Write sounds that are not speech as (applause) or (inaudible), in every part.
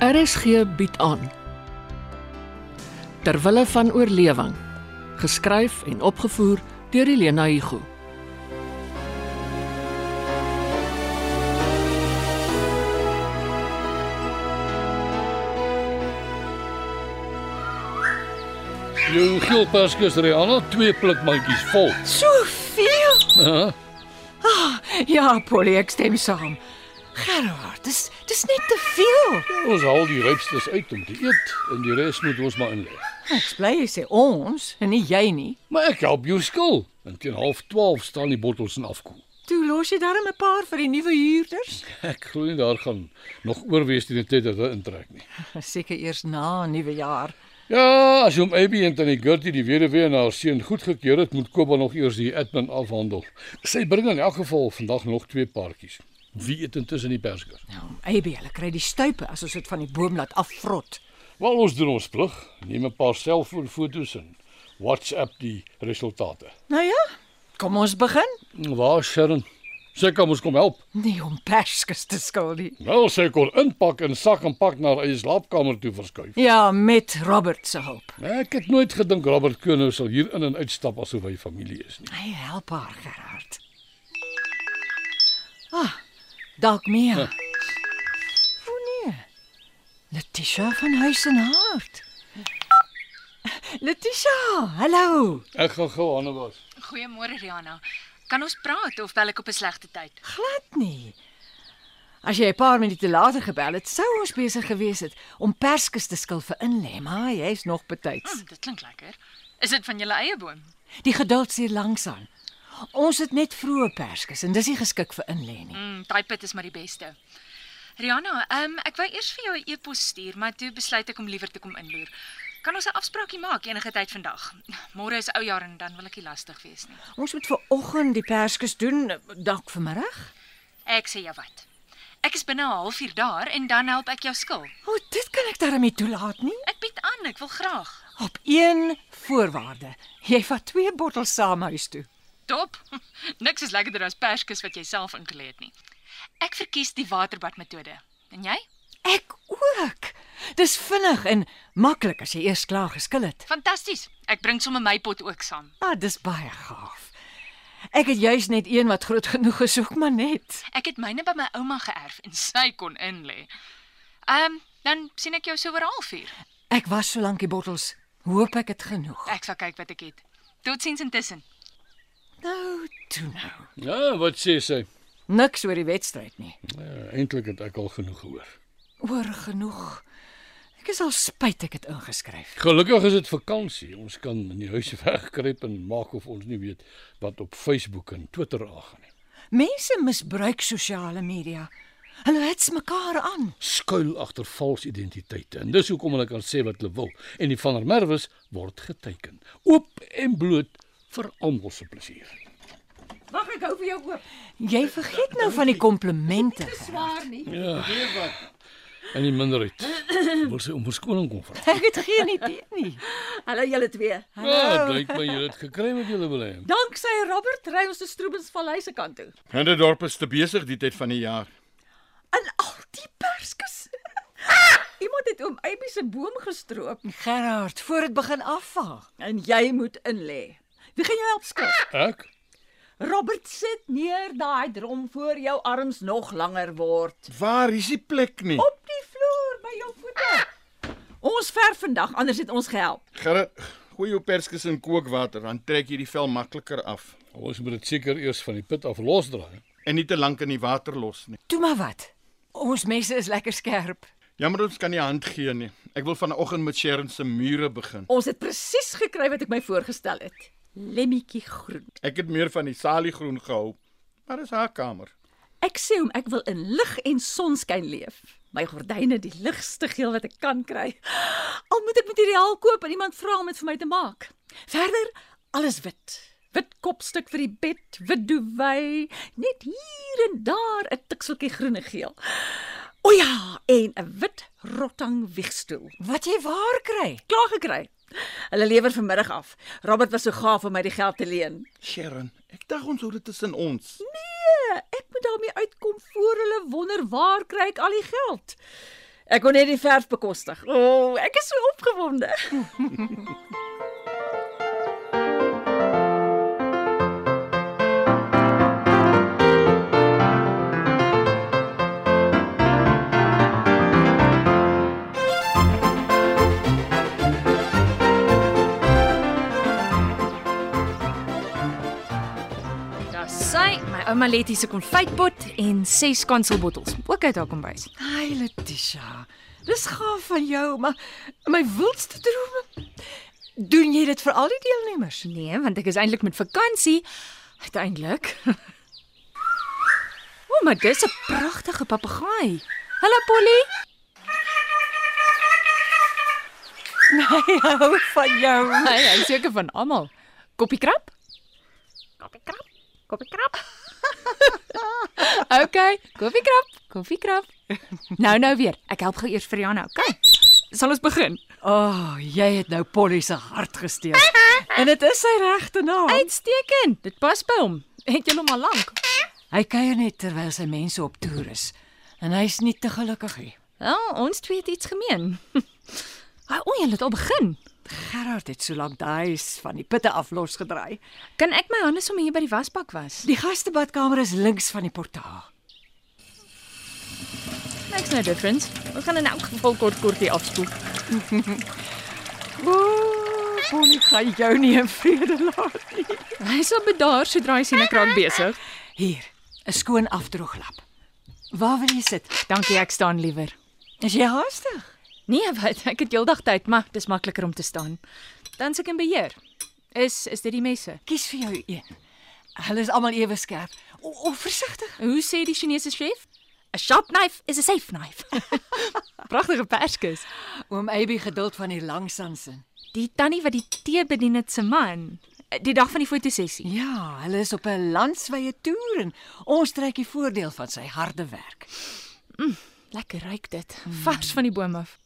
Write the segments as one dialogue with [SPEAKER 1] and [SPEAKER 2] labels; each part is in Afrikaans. [SPEAKER 1] RSG bied aan Terwille van oorlewing geskryf en opgevoer deur Elena Igu
[SPEAKER 2] Jou geelperskes Rihanna twee plukmandjies vol.
[SPEAKER 3] Soveel.
[SPEAKER 2] Ja,
[SPEAKER 3] Ja, Polly, ek stem saam. Gerard, dis dis net te veel.
[SPEAKER 2] ons haal die rypstes uit om te eet en die res moet ons maar inlê.
[SPEAKER 3] Ek bly jy sê ons en nie jy nie.
[SPEAKER 2] Maar ek help jou skil. En teen 0.30 staan die bottels en afkoel.
[SPEAKER 3] Toe los jy darm 'n paar vir die nuwe huurders.
[SPEAKER 2] Ek glo nie daar gaan nog oorwees teen die tyd dat hy intrek nie.
[SPEAKER 3] (laughs) Seker eers na nuwe jaar.
[SPEAKER 2] Ja, as jy hom Abby en tannie Gertie die weduwee en haar seun goedgekeur het, moet Koba nog eers die admin afhandel. Sy bring in elk geval vandag nog twee paartjies. Wie eet intussen die perskes?
[SPEAKER 3] Nou, Abby, hulle kry die stuipe as ons dit van die boom laat afvrot.
[SPEAKER 2] Wel ons doen ons plig. Neem 'n paar selfoonfoto's en WhatsApp die resultate.
[SPEAKER 3] Nou ja, kom ons begin.
[SPEAKER 2] Waar is Sharon? Sy kan ons kom help.
[SPEAKER 3] Nie om perskes te skil nie.
[SPEAKER 2] Wel, sy kon inpak en sak en pak na haar eie slaapkamer toe verskuif.
[SPEAKER 3] Ja, met Robert se hulp.
[SPEAKER 2] Ek het nooit gedink Robert Konou sal hier in en uitstap asof hy familie is nie.
[SPEAKER 3] Hy help haar, Gerard. Ah, dalk meer. Huh. O nee. Letitia van Huis en Hart. Letitia, hallo.
[SPEAKER 2] Ek gaan gou hande was.
[SPEAKER 4] Goeiemôre Rihanna. Nou, Kan ons praat of bel ek op 'n slegte tyd?
[SPEAKER 3] Glad nie. As jy 'n paar minute later gebel het, sou ons besig gewees het om perskes te skil vir inlê, maar jy's nog betyds.
[SPEAKER 4] Hm, dit klink lekker. Is dit van julle eie boom?
[SPEAKER 3] Die geduld seer langsaan. Ons het net vroeë perskes en dis nie geskik vir inlê nie.
[SPEAKER 4] Hm, daai pit is maar die beste. Rihanna, ehm ek wou eers vir jou 'n e-pos stuur, maar toe besluit ek om liewer te kom inloer. Kan ons 'n afspraakie maak enige tyd vandag? Môre is oujaar en dan wil ek nie lastig wees nie.
[SPEAKER 3] Ons moet vir oggend die perskes doen, eh, dalk vanmiddag.
[SPEAKER 4] Ek sê jou wat. Ek is binne 'n halfuur daar en dan help ek jou skil.
[SPEAKER 3] O, oh, dit kan ek daarmee toelaat nie.
[SPEAKER 4] Ek bied aan, ek wil graag.
[SPEAKER 3] Op een voorwaarde. Jy vat twee bottels saam huis toe.
[SPEAKER 4] Top. (laughs) Niks is lekkerder as perskes wat jy self ingelê het nie. Ek verkies die waterbad metode. En jy?
[SPEAKER 3] Ek ook. Dis vinnig en maklik as jy eers klaar geskil het.
[SPEAKER 4] Fantasties. Ek bring sommer my pot ook saam.
[SPEAKER 3] Ah, dis baie gaaf. Ek het juis net een wat groot genoeg is ook maar net.
[SPEAKER 4] Ek het myne by my ouma geërf en sy kon inlê. Ehm, um, dan sien ek jou so oor 'n halfuur.
[SPEAKER 3] Ek was so lank die bottels. Hoop ek het genoeg.
[SPEAKER 4] Ek sal kyk wat ek het. Totsiens intussen.
[SPEAKER 3] Nou, toe nou.
[SPEAKER 2] Ja, wat sê sy?
[SPEAKER 3] Niks oor die wedstryd nie.
[SPEAKER 2] Ja, eintlik het ek al genoeg gehoor.
[SPEAKER 3] Oor genoeg. Ek is al spyt ek het ingeskryf.
[SPEAKER 2] Gelukkig is dit vakansie. Ons kan in die huis (laughs) wegkruip en maak of ons nie weet wat op Facebook en Twitter aangaan nie.
[SPEAKER 3] Mense misbruik sosiale media. Hulle hets mekaar aan.
[SPEAKER 2] Skuil agter vals identiteite en dis hoekom hulle kan sê wat hulle wil en die van der Merwes word geteken. Oop en bloot vir almal se plesier.
[SPEAKER 5] Mag ek hou vir jou oop?
[SPEAKER 3] Jy vergeet nou van die
[SPEAKER 5] (laughs)
[SPEAKER 3] komplimente.
[SPEAKER 5] Swaar nie.
[SPEAKER 2] En die minderheid wil sy om verskoning kom vra.
[SPEAKER 3] Ek het geen idee nie.
[SPEAKER 5] Hallo julle twee.
[SPEAKER 2] Ja, blyk my julle het gekry wat julle wil hê.
[SPEAKER 5] Danksy Robert ry ons te Stroobensvallei se kant toe.
[SPEAKER 6] Hinderdorp is te besig die tyd van die jaar.
[SPEAKER 5] En al die perskes. Ah! Iemand het oom Abby se boom gestroop
[SPEAKER 3] Gerard, voor dit begin afval.
[SPEAKER 5] en jy moet inlê. Wie gaan jou help skrik?
[SPEAKER 2] Ek
[SPEAKER 5] Robert sit neer daai drom voor jou arms nog langer word.
[SPEAKER 6] Waar is die plek nie?
[SPEAKER 5] Op die vloer by jou voete. Ons verf vandag, anders het ons gehelp.
[SPEAKER 6] Gerrit, gooi jou perskes in kookwater, dan trek jy die vel makliker af
[SPEAKER 2] ons moet dit seker eers van die put af losdraai.
[SPEAKER 6] en nie te lank in die water los nie.
[SPEAKER 3] Toe maar wat. Ons messe is lekker skerp.
[SPEAKER 6] Jammer ons kan nie hand gee nie. Ek wil vanoggend met Sharon se mure begin.
[SPEAKER 5] Ons het presies gekry wat ek my voorgestel het. Lemmetjie groen.
[SPEAKER 6] Ek het meer van die saliegroen gehou, maar dis haar kamer.
[SPEAKER 5] Ek sê hom ek wil in lig en sonskyn leef. My gordyne die ligste geel wat ek kan kry. Al moet ek materiaal koop en iemand vra om dit vir my te maak. Verder alles wit. Wit kopstuk vir die bed, wit duvet, net hier en daar 'n tikseltjie groenegeel. O ja, en 'n wit rotang wiegstoel.
[SPEAKER 3] Wat jy waar kry.
[SPEAKER 5] Klaar gekry. Hulle lewer vanmiddag af. Robert was so gaaf om my die geld te leen.
[SPEAKER 6] Sharon, ek dink ons hou dit tussen ons.
[SPEAKER 5] Nee, ek moet daarmee uitkom voor hulle wonder waar kry ek al die geld. Ek kon net die verf bekostig. O, oh, ek is so opgewonde.
[SPEAKER 7] Daar sy, my ouma Letty se konfytpot en ses kanselbottels, ook uit haar kombuis.
[SPEAKER 3] Ai, Letitia. Dis gaaf van jou, maar my wildste drome. Doen jy dit vir al die deelnemers?
[SPEAKER 7] Nee, want ek is eintlik met vakansie uiteindelik. O, maar dis Oh 'n pragtige papegaai. Hallo Polly.
[SPEAKER 3] Nee, hou van jou.
[SPEAKER 7] Hy hy seker van almal. Koppie krap? Koppie krap. Koppie krap. okay, koffie krap, koffie krap. Nou nou weer. Ek help gou eers vir Jana, okay? Sal ons begin?
[SPEAKER 3] O, oh, jy het nou Polly se hart gesteel. En dit is sy regte naam.
[SPEAKER 7] Uitstekend. Dit pas by hom. Het jy hom al lank?
[SPEAKER 3] Hy kuier net terwyl sy mense op toer is en hy's nie te gelukkig nie.
[SPEAKER 7] Wel, Ja, ons twee het iets (laughs) gemeen. Ah, o, jy het al begin.
[SPEAKER 3] Gerard het so lank daai s- van die pitte af losgedraai.
[SPEAKER 7] Kan ek my hande sommer hier by die wasbak was?
[SPEAKER 3] Die gastebadkamer is links van die portaal.
[SPEAKER 7] Niks nou difference. Ons gaan in elk geval kort kort hier afspoel.
[SPEAKER 3] Ooh, Polly gaan jou nie in vrede laat nie.
[SPEAKER 7] Hy is al bedaar sodra hy sien ek raak besig.
[SPEAKER 3] Hier, 'n skoon afdrooglap. Waar wil jy sit?
[SPEAKER 7] Dankie, ek staan liewer.
[SPEAKER 3] Is jy haastig?
[SPEAKER 7] Nee, (laughs) wat, ek het heeldag tyd, maar dis makliker om te staan. Dan se ek in beheer. Is is dit die messe?
[SPEAKER 3] Kies vir jou een. Hulle is almal ewe skerp. O, o versigtig.
[SPEAKER 7] Hoe sê die Chinese chef? A sharp knife is a safe knife. (laughs) Pragtige perskus.
[SPEAKER 3] Oom Abby geduld van die langsansin.
[SPEAKER 7] Die tannie wat die tee bedien het se man, die dag van die fotosessie.
[SPEAKER 3] Ja, hulle is op 'n landwye toer en ons trek die voordeel van sy harde werk.
[SPEAKER 7] Lekker ruik dit, vars van die boom af.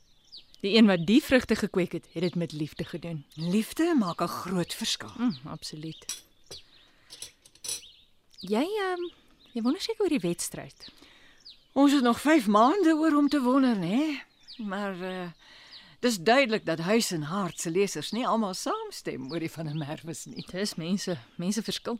[SPEAKER 7] Die een wat die vrugte gekweek het, het dit met liefde gedoen.
[SPEAKER 3] Liefde maak 'n groot verskil.
[SPEAKER 7] Mm, absoluut. Jy ehm um, jy wonder seker oor die wedstryd.
[SPEAKER 3] Ons het nog 5 maande oor om te wonder, nê? Maar uh dis duidelik dat huis en hart se lesers nie almal saamstem oor die van 'n merwes nie.
[SPEAKER 7] Dis mense, mense verskil.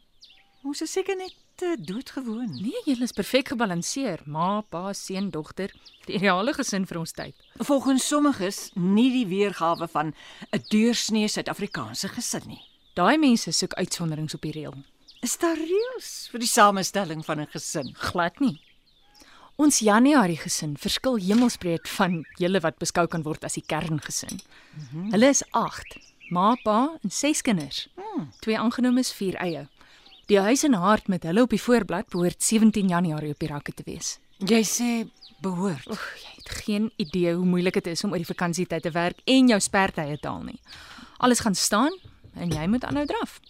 [SPEAKER 3] Ons is seker net uh, doodgewoon.
[SPEAKER 7] Nee, jy is perfek gebalanseer. Ma, pa, seun, dogter, die ideale gesin vir ons tyd.
[SPEAKER 3] Volgens sommiges nie die weergawe van 'n deursnee Suid-Afrikaanse gesin nie.
[SPEAKER 7] Daai mense soek uitsonderings op die reël.
[SPEAKER 3] Is daar reëls vir die samestelling van 'n gesin?
[SPEAKER 7] Glad nie. Ons Januarie gesin verskil hemelsbreed van julle wat beskou kan word as die kerngesin. Hulle is 8, ma, pa en 6 kinders. Twee aangenomes, 4 eie. Die huis en hart met hulle op die voorblad behoort 17 Januarie op die rakke te wees.
[SPEAKER 3] Jy sê behoort.
[SPEAKER 7] Oef, jy het geen idee hoe moeilik dit is om oor die vakansietyd te werk en jou spertye te haal nie. Alles gaan staan en jy moet aanhou draf.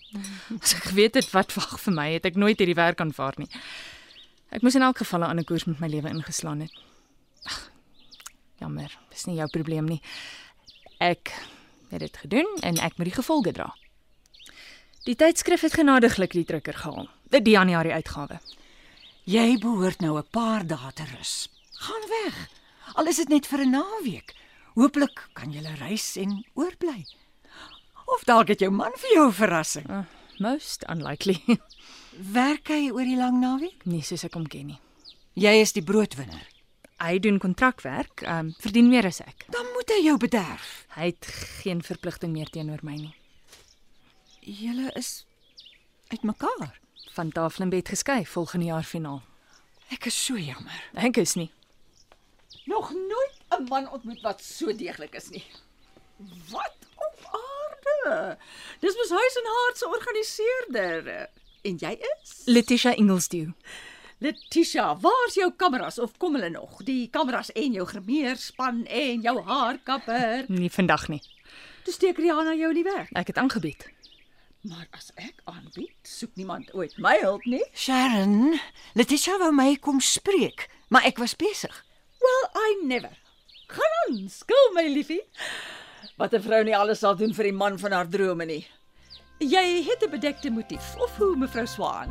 [SPEAKER 7] As ek geweet het wat wag vir my, het ek nooit hierdie werk aanvaar nie. Ek moes in elk geval 'n ander koers met my lewe ingeslaan het. Ag, jammer, dis nie jou probleem nie. Ek het dit gedoen en ek moet die gevolge dra. Die tydskrif het genadiglik die drukker gehaal. Dit die Januarie uitgawe.
[SPEAKER 3] Jy behoort nou 'n paar dae te rus. Gaan weg. Al is dit net vir 'n naweek. Hooplik kan jy reis en oorbly. Of dalk het jou man vir jou 'n verrassing.
[SPEAKER 5] Ah.
[SPEAKER 7] Most unlikely. (laughs)
[SPEAKER 3] Werk hy oor die lang naweek?
[SPEAKER 7] nie soos ek hom ken nie.
[SPEAKER 3] Jy is die broodwinner.
[SPEAKER 7] Hy doen kontrakwerk, ehm um, verdien meer as ek.
[SPEAKER 3] Dan moet hy jou bederf.
[SPEAKER 7] Hy het geen verpligting meer teenoor my nie.
[SPEAKER 3] Julle is uitmekaar.
[SPEAKER 7] Van tafel en bed geskei volgende jaar finaal.
[SPEAKER 3] Ek is so jammer.
[SPEAKER 7] Ek is nie.
[SPEAKER 5] Nog nooit 'n man ontmoet wat so deeglik is nie. Wat op aarde? Dis mos huis en hart se organiseerder. En jy is?
[SPEAKER 7] Letitia Engelsdew.
[SPEAKER 5] Letitia, waar's jou kameras of kom hulle nog? Die kameras en jou grimeerspan en jou haarkapper.
[SPEAKER 7] Nie vandag nie.
[SPEAKER 5] Toe steek Rihanna jou nie weg.
[SPEAKER 7] Ek het aangebied.
[SPEAKER 5] Maar as ek aanbied, soek niemand ooit my hulp nie.
[SPEAKER 3] Sharon, Letitia wou my kom spreek, maar ek was besig.
[SPEAKER 5] Well, I never. Gaan aan, skil my liefie. Wat 'n vrou nie alles sal doen vir die man van haar drome nie. Jy het 'n bedekte motief of hoe mevrou Swaan?